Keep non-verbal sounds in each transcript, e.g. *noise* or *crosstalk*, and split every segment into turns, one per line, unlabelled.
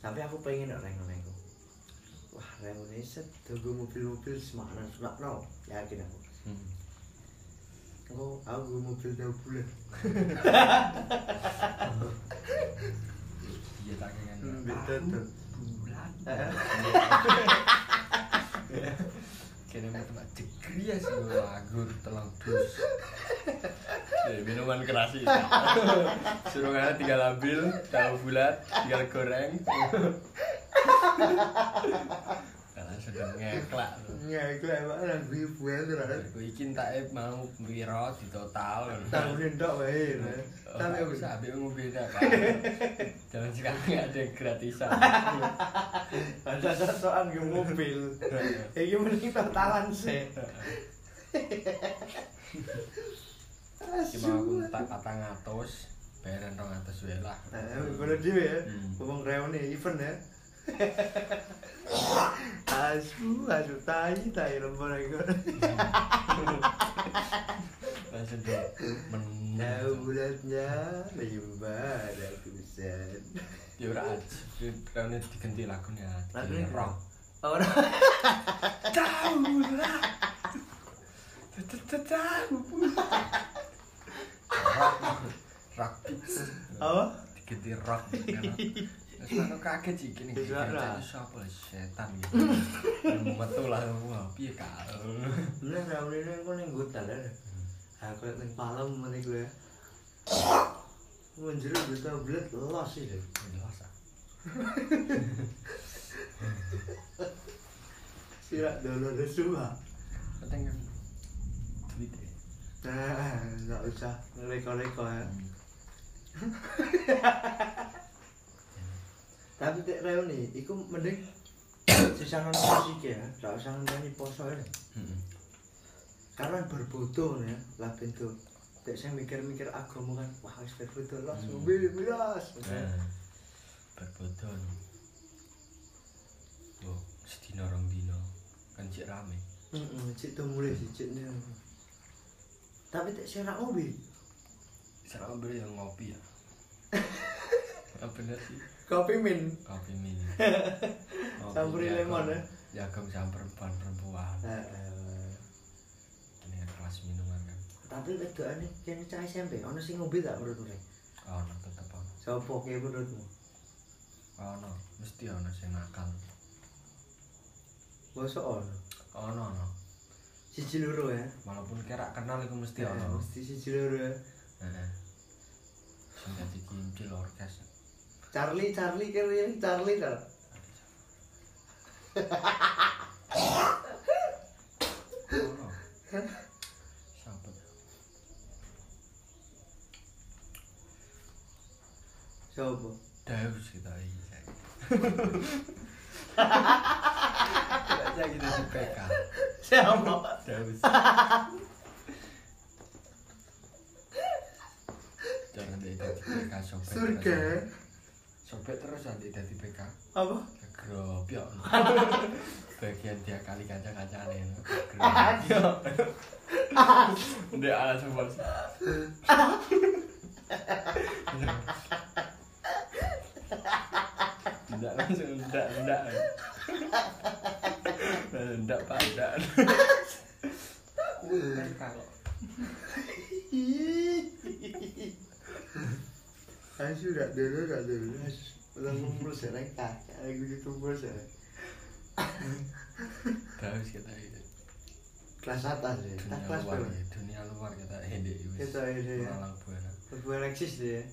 sampai aku pengen orang ngelengku wah rengone set tunggu mobil-mobil semangat semak no yakin aku
Hmm.
aku aku nggo mobil tahu bulan
Iya tak kangen.
Hmm. betul
*laughs*
tuh
Bulan. Kene metu tak degri ya sih lagu telabus. Jadi minuman keras itu. Suruh kan tinggal ambil tahu bulat, tinggal goreng. Kalau sudah ngeklak. lu.
ya itu emang lagu ibu ya terus
Aku ikin tak eh mau biro di total.
tahunin tak baik
Tapi
tapi aku
bisa ambil mobil tak. Jangan sekarang nggak ada yang gratisan.
ada sosokan ke mobil ini mending totalan sih
Cuma aku tak patang atus, bayaran rong atus wae lah.
Nah, bener dhewe ya.
Hmm.
Ngomong reone event ya. Asu, asu tai tai lembur iku.
Langsung dia menang.
Tahu bulatnya lembar aku sen.
Dia Ya ora aji, karena diganti lagunya.
Lagunya
Jadi rock.
Ora
Tahu lah. Tahu. Rock, rock kids.
apa?
Diganti rock. karena- Terus aku kaget sih gini.
Terus
gini,
apa?
ternyata siapa setan gitu. Ilmu metu lah, wah piye kau.
Bener reone aku ning hutan ya. Aku ning palem mrene gue. Menjeru gue tau bulat los sih. deh. Sirak dolo semua.
Penting kan duit ya.
Nah, nggak usah reko-reko ya. Tapi tek reuni, iku mending *coughs* sisa nonton musik ya, nggak usah nonton poso ya.
Hmm.
Karena berbutuh ya, lah pintu. Tek saya mikir-mikir agama kan, wah harus berbutuh lah,
Hmm.
sumbi bilas.
Nah, berbodoh no. Yo, sedina Oh, rong dina kan cek rame.
Heeh, cik tuh mulai sih ciknya. Tapi tek saya nak ubi,
Sekarang ambil yang ngopi ya. *laughs* Ya bener sih,
kopi min.
kopi *laughs* mini. Ngopi
Campuri
jagung-
lemon ya?
Jagung sama perempuan-perempuan.
Nah, eh,
Ini kelas minuman kan.
tapi wedokane kene cah SMP, ono sing ngombe tak menurutmu? Rek?
Ono tetep ono.
Sopo ki menurutmu?
Ono, mesti ono sing nakal.
Mosok ono.
Ono ono.
Siji loro ya.
Walaupun kira kenal iku mesti
Eh,
ono.
Mesti siji loro ya.
Heeh. Sing dadi kincil orkes.
Charlie, Charlie kiri, Charlie kal.
Ono. Siapa?
Sopo?
Deus kita iki. saiki. Kita kita di PK.
Sopo?
Deus. Jangan dadi dadi PK sobek.
Surga. ya.
Sobek terus nanti dadi PK.
Apa?
Gerobyok.
*laughs*
Bagian dia kali kaca-kacane.
Ayo.
Ndek alas bos. Ndak langsung ndak ndak. Ndak pak ndak. kalau
Asu dak dulu, dak dulu. Lengung plus ya, Rek. Kakak aku youtuber ya.
terus kita ini
Kelas atas ya. Tak
dunia
kelas
luar
berapa?
ya, dunia luar kita ini wis.
Kita ini ya.
Malang buana.
Gue eksis dia.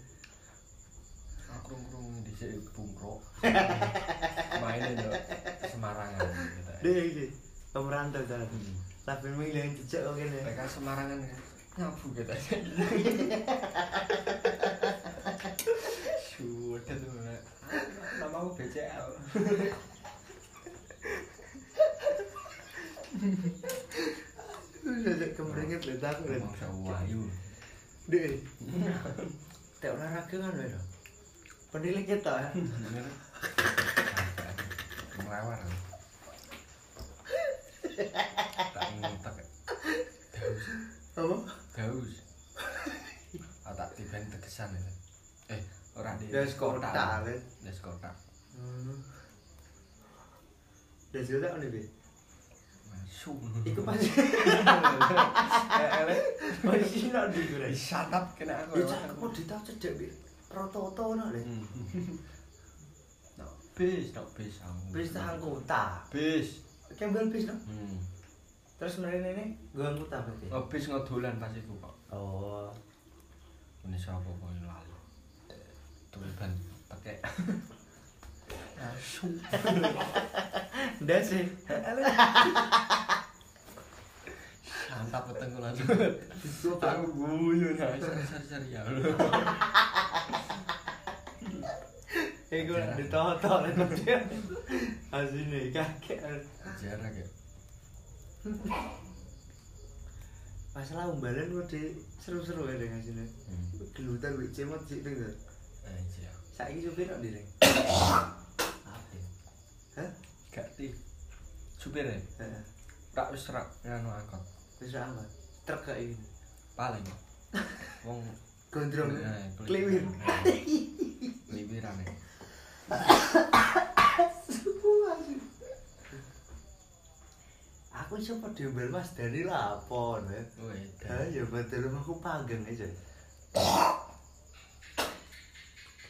Krung-krung di sini *laughs* bungkrok. Main itu Semarangan kita. ini.
Dia iki. Pemerantau dalan. kan. Tapi milih yang dijak kok kene.
mereka Semarangan kan nyabu kita sudah tuh Nak. nama aku BCL
Terus ajak kemringet lho tak lho.
ngomong sewayu
Dek. Tek olahraga kan lho. Penilai kita ya.
bener melawar tak ngutak daus
Apa?
daus ah tak tiba tegesan itu eh orang di
Daus kotak, Lid.
das kotak
Hmm. Ya juga tak nih,
Masu.
Iku *laughs* pasti
Eh, Elek.
pasti nak di gue.
Shut up kena aku.
Ya cak, kok ditau cedek bir. Prototo nak deh.
Hmm. Nak bis, nak bis aku.
Bis tahan kota.
Bis.
Kembali bis no.
Hmm.
Terus mereka ini gue kota berarti.
Ngebis Oh, ngedolan pas iku kok.
Oh.
Ini sapa kok yang lali. Tuliban *laughs* pakai. Asu.
Ndak sih.
Santap petengku langsung.
Itu
*laughs* Aku guyu nah. Sari-sari *laughs* ya.
Eh gue ditoto lah tapi. Asini kakek.
Jarak ya.
Masalah umbalan gue di seru-seru ya dengan sini.
Hmm.
Gelutan gue cemot sih dengar.
Anjir.
Saiki supir nak direng.
Apa?
Hah?
Gak ti. Supir ya.
Heeh.
Tak wis rak nganu angkot.
Terus apa? Truk kayak gini.
*laughs* Paling. Wong Eh,
Gondrong.
Nah, pelit.
Kliwir.
liwiran ya.
Aku iso padha bel Mas Dani lapon.
Woi.
Ha ya betul rumahku pageng aja.